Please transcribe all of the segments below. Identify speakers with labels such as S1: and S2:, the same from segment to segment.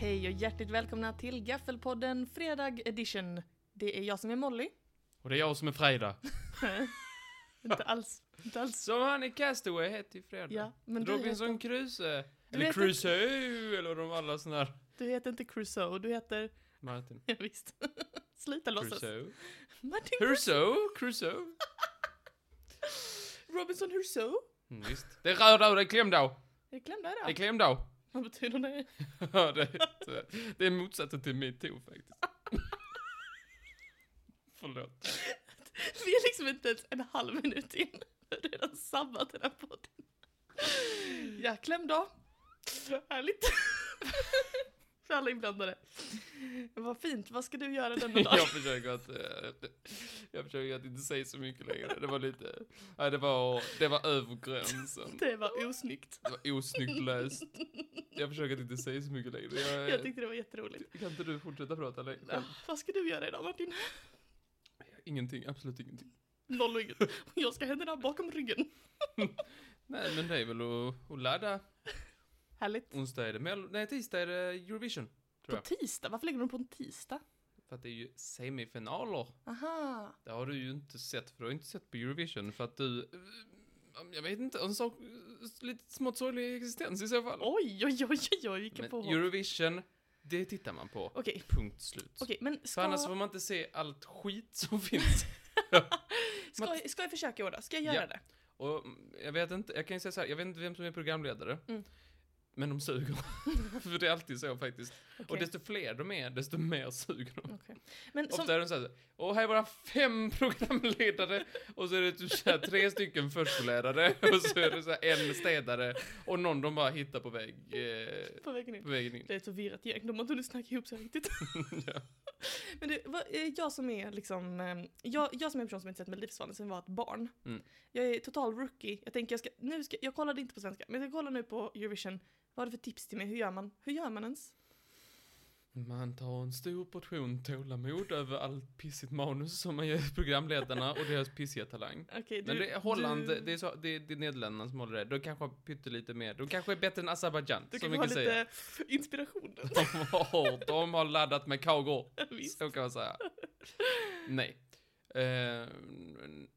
S1: Hej och hjärtligt välkomna till Gaffelpodden Fredag edition. Det är jag som är Molly.
S2: Och det är jag som är Freda.
S1: inte alls. Inte alls.
S2: Som han i Castaway hette i Freda.
S1: Ja, men du heter,
S2: Robinson Crusoe.
S1: Du
S2: Eller
S1: vet
S2: Crusoe, eller de alla såna här.
S1: du heter inte Crusoe, du heter...
S2: Martin.
S1: Ja, visst. Sluta låtsas.
S2: Crusoe.
S1: Martin
S2: Crusoe, Crusoe.
S1: Robinson Crusoe.
S2: Mm, visst. Det är röda och det är klämda.
S1: Jag glömde
S2: Det är
S1: det.
S2: klämda.
S1: Vad betyder det?
S2: Ja, det, är- det är motsatsen till metoo faktiskt. Förlåt.
S1: Vi är liksom inte ens en halv minut in. Vi har redan sabbat den här podden. Ja, kläm då. Härligt. För alla inblandade. Vad fint. Vad ska du göra denna dag?
S2: Jag försöker att, eh, jag försöker att inte säga så mycket längre. Det var lite, nej det var, det var över gränsen.
S1: Det var osnyggt.
S2: Det var osnyggt löst. Jag försöker att inte säga så mycket längre. Jag,
S1: Jag tyckte det var jätteroligt.
S2: Kan inte du fortsätta prata längre?
S1: Ah, vad ska du göra idag Martin?
S2: Ingenting, absolut ingenting.
S1: Noll och inget. Och Jag ska ha händerna bakom ryggen.
S2: Nej, men det är väl att, att ladda.
S1: Härligt.
S2: Onsdag är det Mel- nej tisdag är det Eurovision.
S1: På
S2: Tror jag.
S1: tisdag? Varför lägger de på en tisdag?
S2: För att det är ju semifinaler.
S1: Aha.
S2: Det har du ju inte sett, för du har inte sett på Eurovision för att du... eh, Jag vet inte, en sak, lite smått sorglig existens i så fall.
S1: Oj, oj, oj, oj, oj, vilken
S2: men
S1: påhopp. Okej,
S2: Eurovision, det tittar man på.
S1: okej,
S2: Punkt slut.
S1: men
S2: För annars
S1: ska,
S2: får man inte se allt skit som finns.
S1: ska, jag- ska jag försöka i år då? Ska jag göra
S2: Ja.
S1: det?
S2: Och mm, jag vet inte, jag kan ju säga så här, jag vet inte vem som är programledare.
S1: Mm.
S2: Men de suger. För det är alltid så faktiskt. Och
S1: Okej.
S2: desto fler de är, desto mer suger de.
S1: Okej. Men som,
S2: Ofta är de såhär, och här är våra fem programledare och så är det typ så här, tre stycken förskollärare och så är det så här, en städare och någon de bara hittar på väg, eh,
S1: på vägen in.
S2: på vägen in.
S1: Det är ett förvirrat gäng, de har inte hunnit snacka ihop sig riktigt.
S2: Ja.
S1: Men du, vad, eh, jag som är liksom, eh, jag, jag som är en person som inte sett Melodifestivalen sedan jag var ett barn.
S2: Mm.
S1: Jag är total rookie. Jag tänker jag ska, nu ska, jag kollade inte på svenska, men jag ska kolla nu på Eurovision. Vad har du för tips till mig? Hur gör man? Hur gör man ens?
S2: Man tar en stor portion tålamod över allt pissigt manus som man ger programledarna och deras pissiga talang.
S1: Okej,
S2: Men
S1: du-
S2: det är Holland,
S1: du-
S2: det, är så, det, är, det är Nederländerna som håller det. De kanske har pyttelite mer. De kanske är bättre än Azerbaijan,
S1: Du
S2: som
S1: kan
S2: vi
S1: ha
S2: kan säga.
S1: lite inspiration.
S2: De har, de har laddat med kagor.
S1: Visst.
S2: Så kan man säga. Nej. Eh,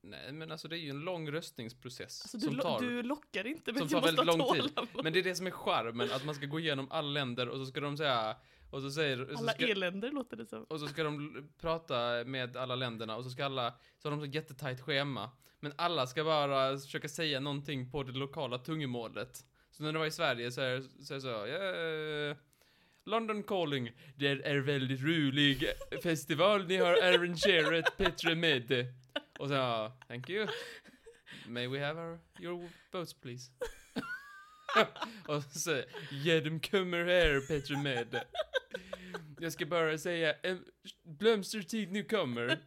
S2: nej, men alltså det är ju en lång röstningsprocess
S1: Alltså,
S2: som
S1: du, lo-
S2: tar...
S1: du lockar inte men
S2: som
S1: du
S2: tar
S1: måste
S2: väldigt
S1: ha
S2: lång tid.
S1: tålamod.
S2: Men det är det som är charmen, att man ska gå igenom alla länder och så ska de säga... Och så säger... Så
S1: Alla
S2: ska,
S1: eländer låter det som.
S2: och så ska de l- prata med alla länderna och så ska alla... Så har de så jättetajt schema. Men alla ska bara försöka säga någonting på det lokala tungomålet. Så när det var i Sverige så är det så... Är det så eh, London Calling, det är väldigt rolig festival ni har arrangerat Petre med. Och så, ja, thank you. May we have our, your votes please? Och så, ja de kommer här Petre med. Jag ska bara säga, em, blomstertid nu kommer.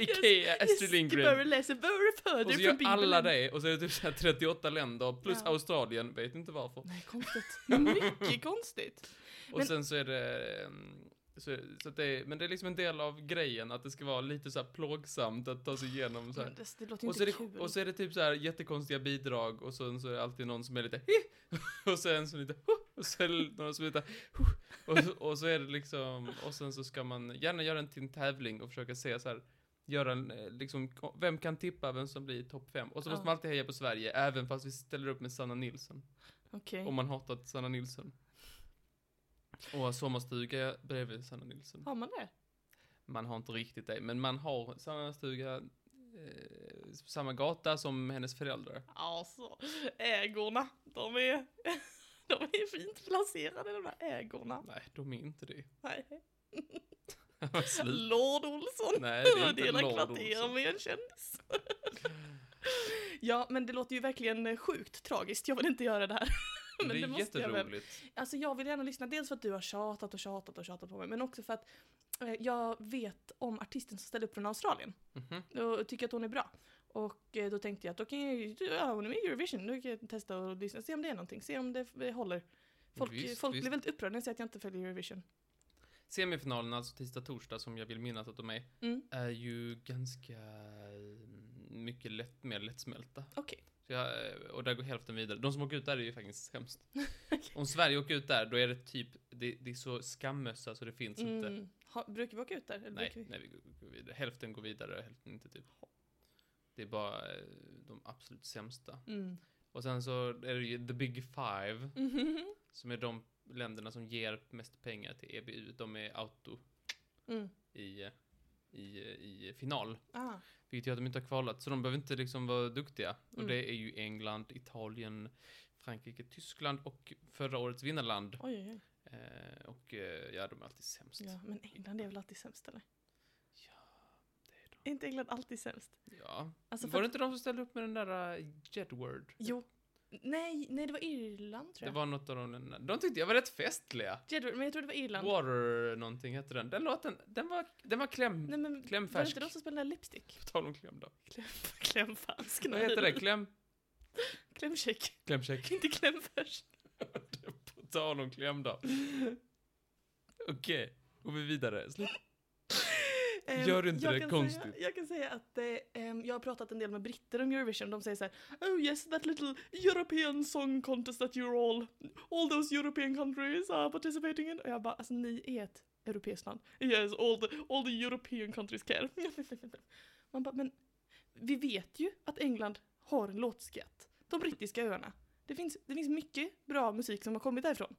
S2: Ikea, Astrid Lindgren.
S1: Jag ska bara läsa våra
S2: Och
S1: föder
S2: så
S1: från
S2: gör
S1: Bibeln.
S2: alla det, och så är det typ så här 38 länder, plus
S1: Ja.
S2: Australien, vet inte varför.
S1: Nej, konstigt. Mycket konstigt.
S2: Och
S1: Men-
S2: sen så är det... mm, Så, så att det är, men det är liksom en del av grejen, att det ska vara lite så här plågsamt att ta sig igenom så
S1: Men
S2: här.
S1: det, det låter ju
S2: Och så, är
S1: inte
S2: det,
S1: kul.
S2: och så är det typ så här jättekonstiga bidrag och sen så är det alltid någon som är lite "Hi!" och sen som lite "Huh!" och så är det någon som är lite "Huh!" och, så- och så är det liksom och sen så ska man gärna göra en till en tävling och försöka se så här göra en, eh, liksom ko- vem kan tippa vem som blir topp fem och så måste
S1: Ja.
S2: man alltid heja på Sverige även fast vi ställer upp med Sanna Nilsson
S1: Okej.
S2: om man hatat Sanna Nilsson. Och sommarstuga bredvid Sanna Nilsson.
S1: Har man det?
S2: Man har inte riktigt det, men man har sommarstuga eh, samma gata som hennes föräldrar.
S1: Alltså, ägorna, de är... De är fint placerade de där ägorna.
S2: Nej, de är inte det.
S1: Nej.
S2: Slut.
S1: Lord Olsson.
S2: Nej, det är
S1: Och
S2: inte
S1: dela
S2: Lord
S1: kvarter
S2: Olsson.
S1: med en kändis. ja, men det låter ju verkligen eh, sjukt tragiskt. Jag vill inte göra det här. men
S2: Det
S1: det
S2: är
S1: måste jag väl.
S2: jätteroligt.
S1: Alltså jag vill gärna lyssna, dels för att du har tjatat och tjatat och tjatat på mig, men också för att eh, jag vet om artisten som ställde upp från Australien
S2: Mhm.
S1: och tycker att hon är bra. Och eh, då tänkte jag att då kan jag ju, ja hon är med i Eurovision, då kan jag testa och lyssna, se om det är någonting, se om det eh, håller. Folk,
S2: Visst,
S1: folk
S2: visst.
S1: blir väldigt upprörda när jag säger att jag inte följer Eurovision.
S2: Semifinalen, alltså tisdag, torsdag, som jag vill minnas att de är,
S1: Mm,
S2: är ju ganska eh, mycket lätt, mer lättsmälta.
S1: okej.
S2: Så jag, eh, och där går hälften vidare. De som åker ut där är ju faktiskt hemskt. Om Sverige åker ut där, då är det typ, det, det är så skammösa så det finns inte.
S1: Mm. Ha, brukar vi åka ut där? Eller
S2: Nej,
S1: brukar vi?
S2: nej vi går- går vidare. hälften går vidare och hälften inte typ. Det är bara eh, de absolut sämsta.
S1: Mm.
S2: Och sen så är det ju the big five,
S1: Mhm.
S2: som är de länderna som ger mest pengar till EBU. De är auto
S1: Mm.
S2: i, eh, i, eh, i final.
S1: Ah.
S2: Vilket gör att de inte har kvalat, så de behöver inte liksom vara duktiga. Och
S1: Mm.
S2: det är ju England, Italien, Frankrike, Tyskland och förra årets vinnarland.
S1: Oj, oj, oj.
S2: Eh, och eh, ja, de är alltid sämst.
S1: Ja, men England är väl alltid sämst eller?
S2: Det är
S1: Är inte England alltid sämst?
S2: de. ja.
S1: Alltså
S2: var
S1: för
S2: det
S1: att,
S2: inte de som ställde upp med den där uh, Jedward?
S1: jo. Nej, nej, det var Irland tror
S2: Det
S1: jag.
S2: var något av de länderna. De tyckte jag var rätt festliga.
S1: Jedward, men jag tror det var Irland.
S2: Water någonting hette den. Den låten, den var, den var kläm...
S1: Nej, men var det
S2: Klämfärsk.
S1: inte de som spelade Lipstick?
S2: På tal om kläm då.
S1: Kläm, klämfärsk.
S2: Vad heter det? Kläm...
S1: Klämcheck.
S2: Klämcheck.
S1: Inte klämfärsk.
S2: På tal om kläm då. Okej, går vi vidare. Slut.
S1: Ehm,
S2: Gör inte
S1: jag
S2: det
S1: kan
S2: konstigt.
S1: Säga, jag kan säga att eh, ehm, jag har pratat en del med britter om Eurovision. De säger så här, Oh yes, that little European song contest that you're all, all those European countries are participating in. Och jag bara, alltså ni är ett europeiskt land. Yes, all the, all the European countries care. Man bara, men vi vet ju att England har en låtskatt. De brittiska öarna. Det finns, det finns mycket bra musik som har kommit därifrån.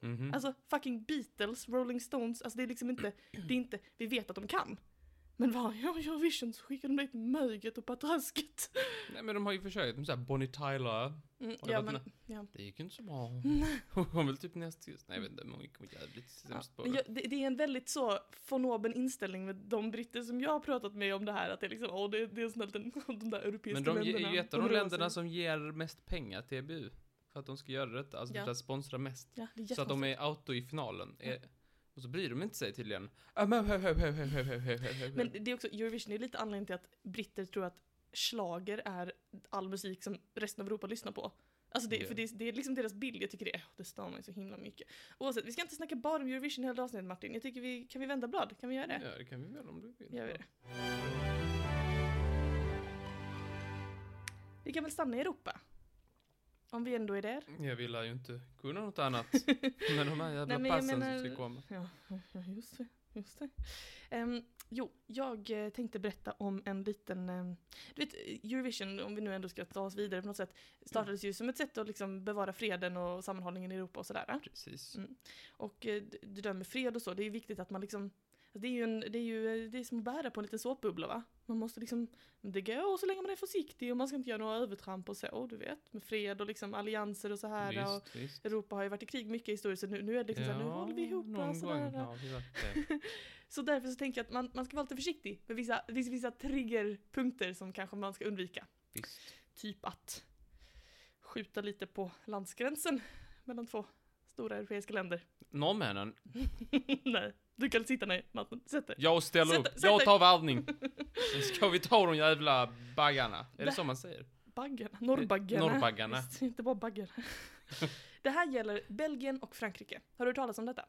S2: Mhm.
S1: Alltså fucking Beatles, Rolling Stones, alltså det är liksom inte, det är inte, vi vet att de kan. Men vad, ja, Eurovision så skickar de dit möget och patrasket.
S2: Nej men de har ju försökt, de såhär Bonnie Tyler.
S1: Mm,
S2: Har det
S1: ja,
S2: varit
S1: men,
S2: med?
S1: ja.
S2: Det gick ju inte så bra. Hon kom väl typ näst sist. Nej jag vet inte, men hon kom jävligt
S1: Ja,
S2: sämst på
S1: men
S2: det.
S1: jag, det, det är en väldigt så von oben inställning med de britter som jag har pratat med om det här att det är liksom, åh det, det är snällt en- de där europeiska
S2: Men de ge-
S1: länderna.
S2: är ju ett av de
S1: rör
S2: länderna
S1: sig.
S2: som ger mest pengar till EBU. För att de ska göra detta, alltså
S1: Ja.
S2: för att sponsra mest.
S1: Ja, det är
S2: Så att de
S1: jättekonstigt.
S2: är auto i finalen.
S1: Ja.
S2: Eh, Och så bryr de inte sig tydligen. Ah, men-
S1: Men det är också, Eurovision är lite anledningen till att britter tror att schlager är all musik som resten av Europa lyssnar på. Alltså det,
S2: Ja.
S1: för det, är- det är liksom deras bild, jag tycker det, åh, det stör mig så himla mycket. Oavsett, vi ska inte snacka bara om Eurovision hela avsnittet Martin. Jag tycker vi, kan vi vända blad? Kan vi göra det?
S2: Ja, det kan vi väl om du vill.
S1: Gör vi det. Vi kan väl stanna i Europa? Om vi ändå är där.
S2: Jag vill ju inte kunna något annat. Men de här jävla
S1: men jag
S2: passen
S1: menar-
S2: som ska komma.
S1: Ja, ja, just det. Just det. Ehm, jo, jag eh, tänkte berätta om en liten... ehm, du vet, Eurovision, om vi nu ändå ska ta oss vidare på något sätt, startades ju som ett sätt att liksom bevara freden och sammanhållningen i Europa och sådär. va?
S2: Precis.
S1: Mm. Och eh, d- det där med fred och så, det är ju viktigt att man liksom... alltså Det är ju, en, det är ju eh, det är som att bära på en liten såpbubbla va? Man måste liksom... Det går så länge man är försiktig och man ska inte göra några övertramp och så, du vet. Med fred och liksom allianser och så här. Och,
S2: Visst, visst.
S1: Europa har ju varit i krig mycket historiskt så nu, nu är det liksom så här, nu håller vi ihop och
S2: någon gång
S1: sådär. eh.
S2: har vi varit det.
S1: Så därför så tänker jag att man, man ska vara lite försiktig med vissa, det finns vissa triggerpunkter som kanske man ska undvika.
S2: Visst.
S1: Typ att skjuta lite på landsgränsen mellan två stora europeiska länder.
S2: Norrmännen,
S1: nej, du kan sitta ner Martin, sätt dig.
S2: jag ställer
S1: Sätt-
S2: upp.
S1: sätt
S2: Jag
S1: dig.
S2: tar värvning. Nu Ska vi ta de jävla baggarna? Är
S1: Det-
S2: det så man säger?
S1: Baggarna, norrbaggarna.
S2: Norrbaggarna.
S1: Visst, inte bara baggarna. det här gäller Belgien och Frankrike. Har du hört talas om detta?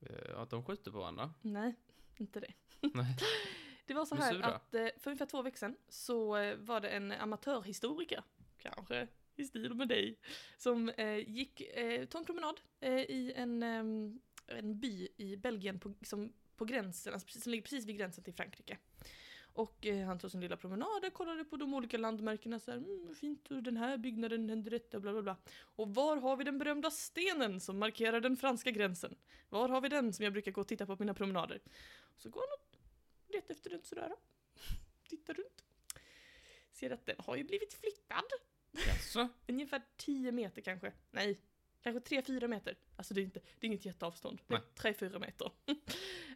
S2: Eh, Att de skjuter på varandra?
S1: Nej, inte det.
S2: Nej.
S1: Det var så
S2: Men
S1: här
S2: sura.
S1: att eh, för ungefär två veckor sedan så eh, var det en amatörhistoriker, kanske i stil med dig, som eh, gick, eh, tog en promenad eh, i en, ehm, en by i Belgien på, som, på gränsen, alltså precis, som ligger precis vid gränsen till Frankrike. Och eh, han tog sin lilla promenad och kollade på de olika landmärkena så här, mm, fint och den här byggnaden hände detta, bla bla bla. Och var har vi den berömda stenen som markerar den franska gränsen? Var har vi den som jag brukar gå och titta på på mina promenader? Så går han och letar efter den sådär. Tittar runt. Ser att den har ju blivit flyttad.
S2: Jaså?
S1: Ungefär 10 meter kanske. Nej, kanske 3-4 meter. Alltså det är, inte, det är inget jätteavstånd. Det är 3-4 meter.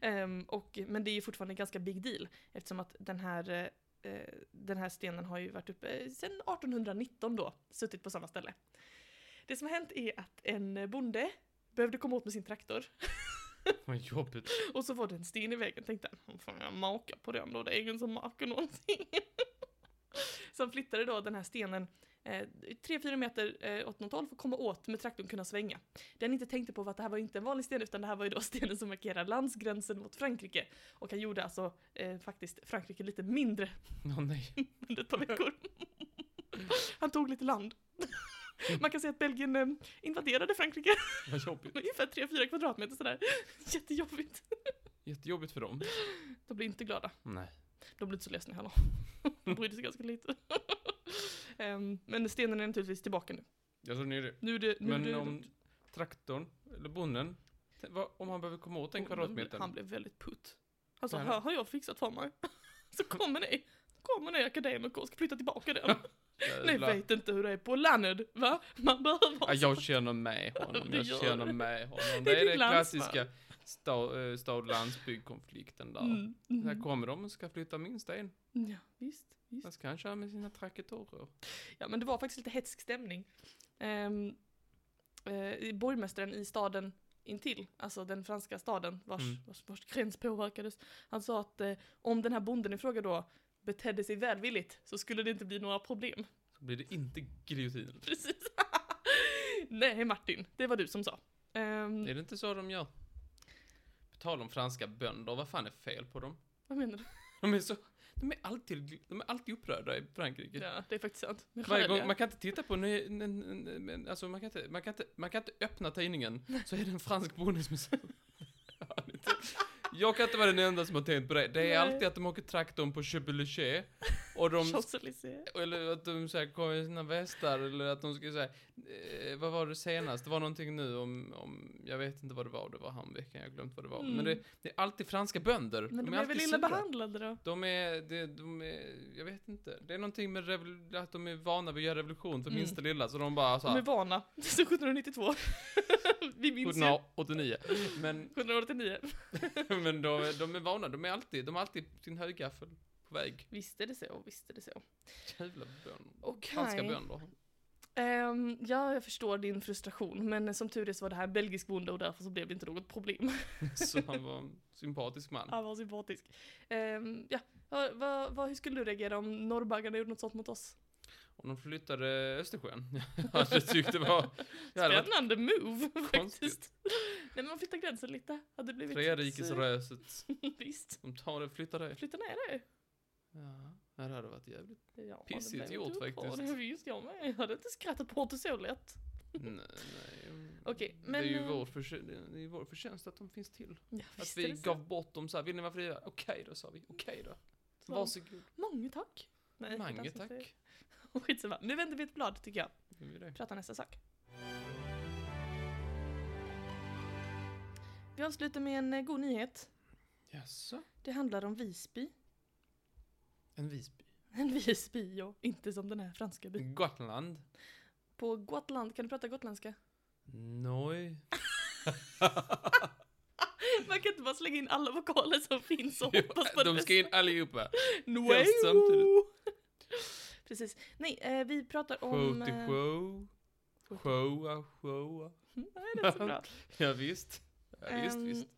S1: Ehm, och, men det är ju fortfarande en ganska big deal. Eftersom att den här, eh, eh, den här stenen har ju varit uppe eh, sedan 1819 då. Suttit på samma ställe. Det som har hänt är att en bonde behövde komma åt med sin traktor.
S2: Vad jobbigt.
S1: Och så var det en sten i vägen, tänkte han, fan jag makar på den då, det är ingen som makar någonting. Så han flyttade då den här stenen eh, 3-4 meter eh, åt något håll för att komma åt med traktorn kunna svänga. Det han inte tänkte på var att det här var inte en vanlig sten utan det här var ju då stenen som markerar landsgränsen mot Frankrike. Och han gjorde alltså eh, faktiskt Frankrike lite mindre
S2: Åh nej.
S1: under ett par veckor. Han tog lite land. Man kan säga att Belgien eh, invaderade Frankrike
S2: Vad jobbigt.
S1: med ungefär 3-4 kvadratmeter sådär. Jättejobbigt.
S2: Jättejobbigt för dem.
S1: De blir inte glada.
S2: Nej.
S1: De blir inte så ledsna heller. De brydde sig ganska lite. Ehm, men stenen är naturligtvis tillbaka nu.
S2: Jag tror ni är det.
S1: Nu är det... Nu är
S2: Men
S1: det
S2: om traktorn, eller bonden, t- vad- om han behöver komma åt en kvadratmeter.
S1: Han blev väldigt putt. Han sa,
S2: Nej,
S1: här har jag fixat för mig. Så kommer ni. Kommer ni akademiker och ska flytta tillbaka den. Ni
S2: Jävla-
S1: vet inte hur det är på landet, va? Man behöver...
S2: Ja, jag känner med honom,
S1: Det
S2: jag
S1: gör
S2: känner
S1: du.
S2: med honom.
S1: Det
S2: Det
S1: är
S2: är den
S1: ditt landsman.
S2: klassiska stad, eh, stad-landsbygd-konflikten där.
S1: Mm, mm.
S2: Här kommer de och ska flytta min sten.
S1: Ja, visst, visst.
S2: Vad ska han köra med sina traktorer?
S1: Ja, men det var faktiskt lite hetsk stämning. Ehm, eh, i borgmästaren i staden intill, alltså den franska staden vars,
S2: Mm.
S1: vars, vars gräns påverkades, han sa att eh, om den här bonden i fråga då betedde sig välvilligt så skulle det inte bli några problem.
S2: Så blir det inte giljotin.
S1: Precis. Nej, Martin, det var du som sa. Ehm,
S2: Mm. Är det inte så de gör? På tal om franska bönder, vad fan är fel på dem?
S1: Vad menar du?
S2: De är så... De är alltid, de är alltid upprörda i Frankrike.
S1: Ja, det är faktiskt sant. Men
S2: Varje
S1: skäliga.
S2: gång, man kan inte titta på ny, n, n, n, men alltså man kan, inte, man, kan inte, man kan inte öppna tidningen så är det en fransk bonusmuseum. Jag kan inte vara den enda som har tänkt på det. Det är
S1: Nej.
S2: alltid att de åker traktorn på Chebeluchet och de,
S1: Champs-Élysées.
S2: eller att de så här, kommer i sina västar eller att de ska säga eh, vad var det senast? Det var någonting nu om, om, jag vet inte vad det var, det var handveckan, jag har glömt vad det var. Men
S1: Mm.
S2: det, det är alltid franska bönder.
S1: Men de är väl
S2: alltid
S1: illa
S2: sura.
S1: behandlade då?
S2: De är, de, de är, jag vet inte. Det är någonting med revol- att de är vana vid att göra revolution för
S1: Mm.
S2: minsta lilla, så de bara
S1: De är
S2: såhär,
S1: vana. Så 1792. Vi minns ju.
S2: 1789. Men,
S1: 1789.
S2: men de, de är vana, de är alltid, de har alltid sin högaffel på väg.
S1: Visst är det så, visst är det så.
S2: Jävla bönder.
S1: Okej.
S2: Franska bönder.
S1: Ehm, ja, jag förstår din frustration, men som tur är så var det här en belgisk bonde och därför så blev det inte något problem.
S2: Mm. Så han var en sympatisk man.
S1: Han var sympatisk. Ehm, ja, vad, vad, vad, hur skulle du reagera om norrbaggarna gjorde något sånt mot oss?
S2: Och de flyttade Östersjön. Jag hade tyckt det var, jag hade varit
S1: Spännande move
S2: konstigt.
S1: faktiskt. Nej men man flyttar gränsen lite. Hade du blivit sur?
S2: Trerikesröset.
S1: Visst.
S2: De tar det, flyttar det.
S1: Flytta ner dig.
S2: Ja, det hade varit jävligt.
S1: Ja, det
S2: Pissigt
S1: blev inte
S2: gjort,
S1: upprörd.
S2: faktiskt.
S1: Visst, jag med. Jag hade inte skrattat bort det så lätt.
S2: Nej, nej.
S1: Okej,
S2: Det är ju
S1: men, eh,
S2: vår, försö- det är ju vår förtjänst att de finns till.
S1: Ja,
S2: Att
S1: visst
S2: vi
S1: är det så.
S2: gav bort dem så här, vill ni vara fria? Okej då, sa vi. Okej då.
S1: Så.
S2: Varsågod.
S1: Mange tack. Nej,
S2: Mange
S1: det är inte
S2: tack.
S1: så. Skitsamma. Nu vänder vi ett blad tycker jag.
S2: Gör vi det?
S1: Prata nästa sak. Vi avslutar med en eh, god nyhet.
S2: Jaså?
S1: Det handlar om Visby.
S2: En Visby.
S1: En Visby, ja. Inte som den här franska byn.
S2: Gotland.
S1: På Gotland, kan du prata gotländska?
S2: Noj.
S1: Man kan inte bara slänga in alla vokaler som finns och hoppas på det
S2: De ska in allihopa.
S1: bästa.
S2: helst samtidigt.
S1: Precis. Nej, eh, vi pratar om...
S2: Show
S1: eh,
S2: till show. Showa, showa.
S1: Nej, det är så bra.
S2: Ja, visst. Ja, visst,
S1: Ehm,
S2: visst.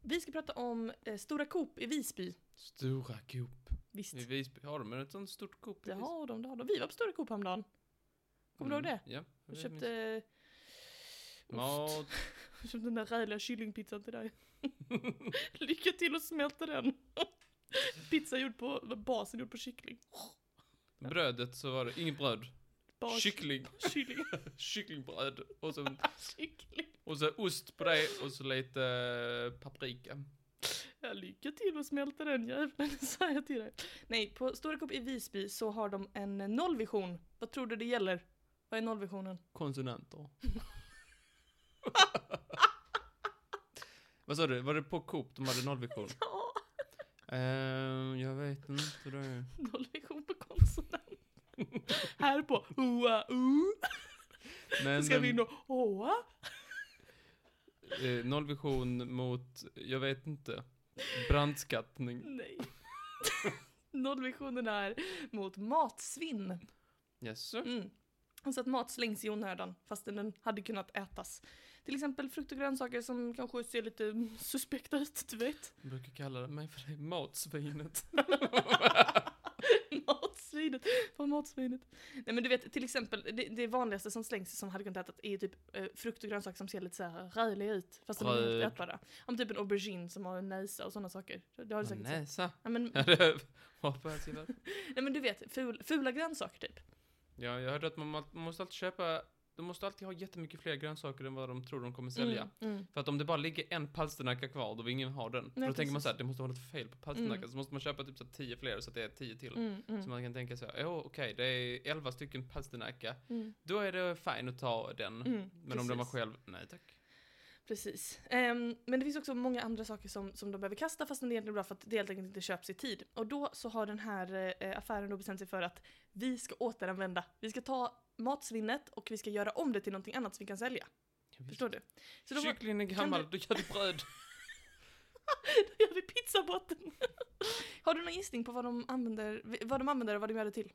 S1: Vi ska prata om eh, Stora Coop i Visby.
S2: Stora Coop.
S1: Visst.
S2: I Visby har de ett sånt stort Coop. i
S1: Det
S2: Visby? Mm,
S1: har de, det har de. Vi var på Stora Coop häromdagen. Kommer du ihåg det?
S2: Ja.
S1: Vi
S2: jag
S1: köpte...
S2: minns.
S1: eh, Ost.
S2: Mat.
S1: Vi köpte den där räliga kyllingpizzan till dig. Lycka till att smälta den. Pizza gjord på, basen gjord på kyckling.
S2: Brödet så var det inget bröd.
S1: Bas,
S2: Kyckling.
S1: Kyckling.
S2: Kycklingbröd. Och så
S1: kyckling.
S2: Och så ost på det och så lite eh, paprika.
S1: Ja, lycka till att smälta den jäveln, säger jag till dig. Nej, på Stora Coop i Visby så har de en nollvision. Vad tror du det gäller? Vad är nollvisionen?
S2: Konsonanter. Vad sa du? Var det på Coop de hade nollvision?
S1: Ja,
S2: Ehm, jag vet inte det.
S1: nollvision på konsonant. Här på oa o
S2: Men
S1: ska vi
S2: ehm,
S1: nå oa.
S2: eh, nollvision mot, jag vet inte, brandskattning.
S1: Nej. Nollvisionen är mot matsvinn.
S2: Jaså?
S1: Mm. Alltså att mat slängs i onödan fastän den hade kunnat ätas. Till exempel frukt och grönsaker som kanske ser lite mm, suspekta ut, du vet.
S2: Jag brukar kalla mig för det matsvinet.
S1: matsvinet, vad matsvinet. Nej men du vet, till exempel det, det vanligaste som slängs som hade kunnat ätas är ju typ eh, frukt och grönsaker som ser lite så här räliga ut fastän de är
S2: Bröd.
S1: helt ätbara. Om typ en aubergine som har en näsa och sådana saker. Det har du
S2: Åh,
S1: säkert sett.
S2: Näsa.
S1: Nej men,
S2: Ja, det hoppas jag.
S1: nej men du vet, ful, fula grönsaker typ.
S2: Ja, jag hörde att man, man måste alltid köpa, de måste alltid ha jättemycket fler grönsaker än vad de tror de kommer sälja.
S1: Mm, mm.
S2: För att om det bara ligger en palsternacka kvar, då vill ingen ha den. då tänker man
S1: precis.
S2: så här, det måste vara något fel på palsternackan.
S1: Mm.
S2: Så måste man köpa typ så här 10 fler så att det är 10 till.
S1: Mm, mm,
S2: Så man kan tänka så här, åh okej, det är 11 stycken palsternacka.
S1: mm,
S2: Då är det fine att ta den.
S1: mm,
S2: Men om den var
S1: precis.
S2: själv, nej tack.
S1: Precis. Ehm, men det finns också många andra saker som, som de behöver kasta fast det är egentligen bra för att det helt enkelt inte köps i tid. Och då så har den här eh, affären då bestämt sig för att vi ska återanvända. Vi ska ta matsvinnet och vi ska göra om det till någonting annat som vi kan sälja. Förstår du? Så då, var,
S2: Kycklingen är gammal, då gör du bröd.
S1: då gör vi pizzabotten. har du någon gissning på vad de använder, vad de använder och vad de gör det till?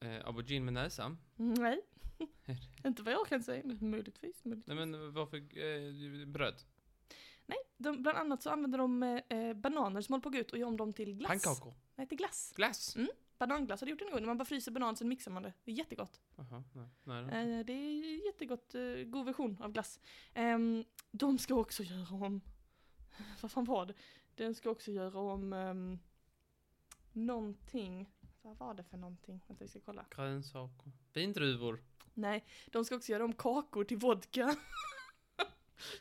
S2: Eh, aubergine med näsa.
S1: Nej. inte vad jag kan säga, men möjligtvis. möjligtvis.
S2: Nej men varför, eh, bröd?
S1: De, bland annat så använder de eh, eh, bananer som håller på att gå ut och gör om dem till glass.
S2: Pannkakor.
S1: Nej, till glass.
S2: Glass.
S1: Mm. Bananglass har du gjort en gång. När man bara fryser banan så mixar man det. Det är jättegott.
S2: Jaha, nej. nej, nej.
S1: Eh, det är jättegott, eh, god version av glass. Ehm, de ska också göra om... Vad fan var det? Den ska också göra om ehm, någonting. Vad var det för någonting? Vänta, vi ska kolla.
S2: Grönsaker. Vindruvor.
S1: Nej, de ska också göra om kakor till vodka.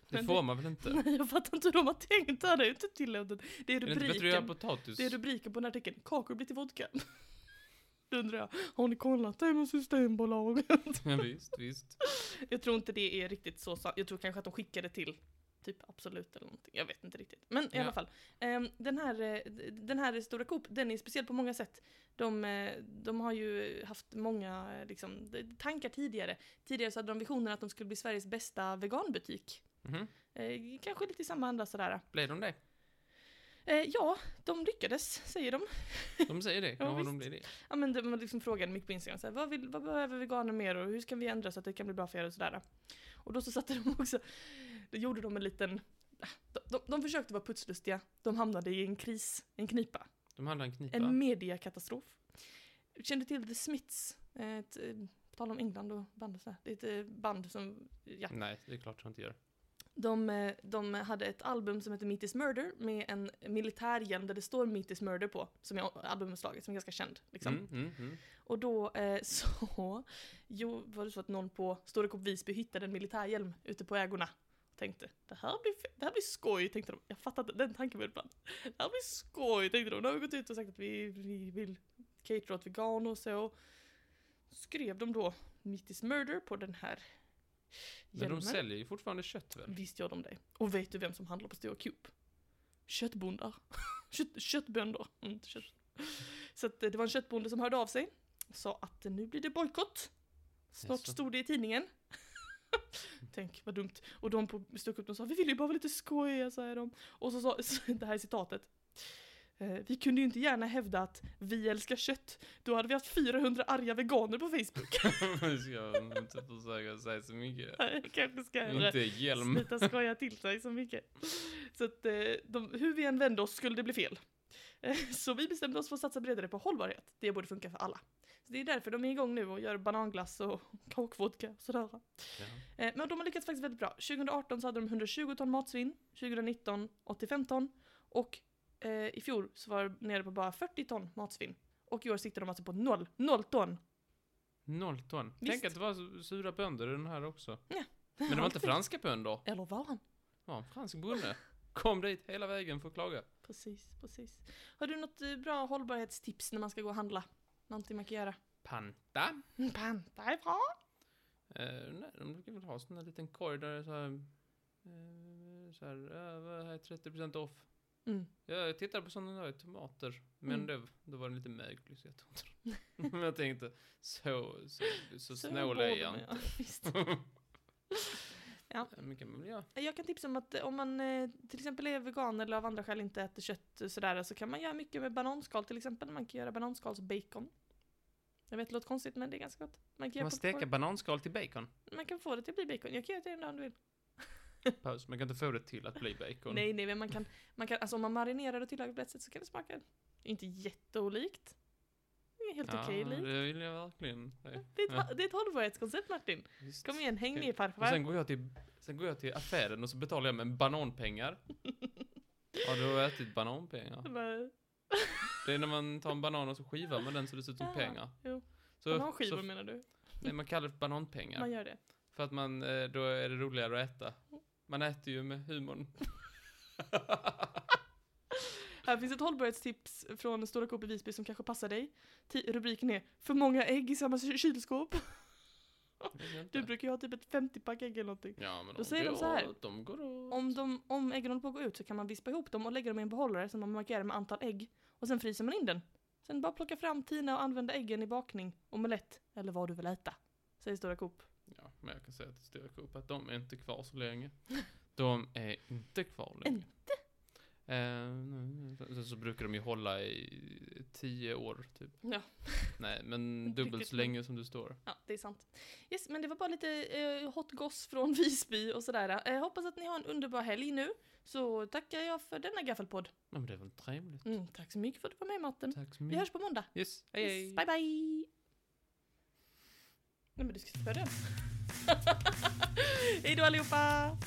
S2: Det
S1: Men
S2: får man väl inte?
S1: Nej, jag fattar inte hur de har tänkt där. Det är ju inte tillåtet. Det är
S2: Är det inte bättre att göra
S1: rubriken.
S2: potatis?
S1: Det är rubriken på den här artikeln. Kakor blir till vodka. Då undrar jag, har ni kollat det med Systembolaget?
S2: Ja, visst, visst.
S1: Jag tror inte det är riktigt så sant. Jag tror kanske att de skickade till typ Absolut eller någonting. Jag vet inte riktigt. Men i
S2: Ja.
S1: alla fall. Ehm, den, här, eh, d- den här Stora Coop, den är speciell på många sätt. De, eh, de har ju haft många eh, liksom, d- tankar tidigare. Tidigare så hade de visionen att de skulle bli Sveriges bästa veganbutik.
S2: Mhm.
S1: Eh, kanske lite i samma anda sådär.
S2: Blev de det?
S1: Eh, ja, de lyckades, säger de.
S2: De säger det.
S1: Ja,
S2: Ja, har de
S1: visst.
S2: blir det.
S1: Ja men de liksom frågade mycket på Instagram så här, vad, vill, vad behöver veganer mer och hur ska vi ändra så att det kan bli bra för er och sådär. Och då så satte de också, då gjorde de en liten, de, de, de försökte vara putslustiga, de hamnade i en kris, en knipa,
S2: De handlar en knipa.
S1: en mediakatastrof. Kände till The Smiths, eh, ett, eh, på tal om England och band och sådär, det är ett eh, band som, ja.
S2: Nej, det är klart jag inte gör.
S1: De, eh, de hade ett album som heter Meet is Murder med en militärhjälm där det står Meet is Murder på, som är albumomslaget, som är ganska känd liksom.
S2: Mm, mm, mm.
S1: Och då eh, så jo, var det så att någon på Storekopp Visby hittade en militärhjälm ute på ägorna. Och tänkte, det här blir, fe- det här blir skoj, tänkte de. Jag fattar inte den tanken ibland. Det här blir skoj, tänkte de. Nu har vi gått ut och sagt att vi, vi vill catera åt veganer och så. Skrev de då Meat is murder på den här
S2: Men
S1: hjälmen.
S2: de säljer ju fortfarande kött väl?
S1: Visst gör de det. Och vet du vem som handlar på Stora Coop? Köttbondar. Kött, köttbönder. Mm, inte kött. Så att, eh, det var en köttbonde som hörde av sig. Sa att eh, nu blir det bojkott. Snart
S2: Jaså.
S1: stod det i tidningen. Tänk vad dumt. Och de på Stora Coop de sa vi vill ju bara vara lite skojiga säger de. Och så sa, det här är citatet. Eh, Vi kunde ju inte gärna hävda att vi älskar kött. Då hade vi haft 400 arga veganer på Facebook.
S2: Nu ska jag inte försöka säga så mycket.
S1: Jag Kanske ska jag
S2: Inte hjälm.
S1: Sluta skoja till sig så mycket. Så att eh, de, hur vi än vände oss skulle det bli fel. Eh, Så vi bestämde oss för att satsa bredare på hållbarhet. Det borde funka för alla. Så det är därför de är igång nu och gör bananglass och kakvodka och sådär.
S2: Ja.
S1: Eh, Men de har lyckats faktiskt väldigt bra. 2018 så hade de 120 ton matsvinn, 2019 85 ton och eh, i fjol så var det nere på bara 40 ton matsvinn. Och i år sitter de alltså på noll, noll ton.
S2: Noll ton.
S1: Visst.
S2: Tänk att det var su- sura bönder i den här också.
S1: Ja.
S2: Men det var inte franska bönder.
S1: Eller var han?
S2: Det var en fransk bonde. Kom dit hela vägen för att klaga.
S1: Precis, precis. Har du något eh, bra hållbarhetstips när man ska gå och handla? Någonting man kan göra?
S2: Panta.
S1: Mm, Panta är bra.
S2: Eh, nej, de brukar väl ha sån där liten korg där det är så här... Eh, så här, eh, vad här är 30% off.
S1: Mm.
S2: Jag tittade på sådana där tomater, men
S1: Mm.
S2: då, då var den lite möglig så jag tog inte den. Men jag tänkte, så, så, så snål
S1: borde
S2: är jag
S1: man-
S2: inte.
S1: ja, visst. Ja.
S2: Men kan man väl göra.
S1: Jag kan tipsa om att eh, om man eh, till exempel är vegan eller av andra skäl inte äter kött och sådär så kan man göra mycket med bananskal till exempel. Man kan göra bananskalsbacon. Jag vet, det låter konstigt men det är ganska gott. Man kan,
S2: Kan
S1: göra
S2: man steka
S1: popcorn.
S2: bananskal till bacon?
S1: man kan få det till att bli bacon. Jag kan göra det en dag om du vill.
S2: Paus, man kan inte få det till att bli bacon.
S1: Nej, nej, men man kan, man kan, alltså om man marinerar och tillagar på rätt sätt så kan det smaka inte jätteolikt. Det är helt
S2: Ah,
S1: okej likt.
S2: det vill jag verkligen säga.
S1: Det är, ett,
S2: Ja,
S1: det är ett hållbarhetskoncept Martin.
S2: visst.
S1: Kom igen, häng
S2: Okej.
S1: med
S2: Och sen
S1: farfar.
S2: går, jag till, sen går jag till affären och så betalar jag med bananpengar. Ja, du har ätit bananpengar.
S1: Bara-
S2: Det är när man tar en banan och så skivar man den så det ser ut som
S1: Ah,
S2: pengar.
S1: jo.
S2: Så,
S1: Bananskivor
S2: så,
S1: menar du?
S2: nej, man kallar det för bananpengar.
S1: Man gör det.
S2: För att man, eh, då är det roligare att äta. Man äter ju med humorn.
S1: Här finns ett hållbarhetstips från Stora Coop i Visby som kanske passar dig. Ti- rubriken är För många ägg i samma ky- kylskåp.
S2: Jag vet inte.
S1: Du brukar ju ha typ ett 50-pack ägg eller någonting.
S2: Ja, men
S1: Då säger de
S2: går
S1: så här.
S2: åt, De går åt.
S1: Om, de, om äggen håller på att gå ut så kan man vispa ihop dem och lägga dem i en behållare som man markerar med antal ägg. Och sen fryser man in den. Sen bara plocka fram, tina och använda äggen i bakning, omelett eller vad du vill äta. Säger Stora Coop.
S2: Ja, men jag kan säga till Stora Coop att de är inte kvar så länge. De är inte kvar längre.
S1: Inte?
S2: Eh, nej, sen- sen så brukar de ju hålla i tio år, typ.
S1: Ja.
S2: Nej,
S1: Inte
S2: men dubbelt
S1: riktigt,
S2: så
S1: men-
S2: länge som du står.
S1: Ja, det är sant. Yes, men det var bara lite eh, hot goss från Visby och sådär. Eh, hoppas att ni har en underbar helg nu. Så tackar jag för denna gaffelpodd.
S2: Ja, men det är väl trevligt.
S1: Mm, tack så mycket för att du var med Matten.
S2: Tack
S1: Mm.
S2: så
S1: Vi
S2: mycket.
S1: hörs på måndag.
S2: Yes, hej hej.
S1: Yes, bye bye! Nej men du ska inte börja. Hej då allihopa!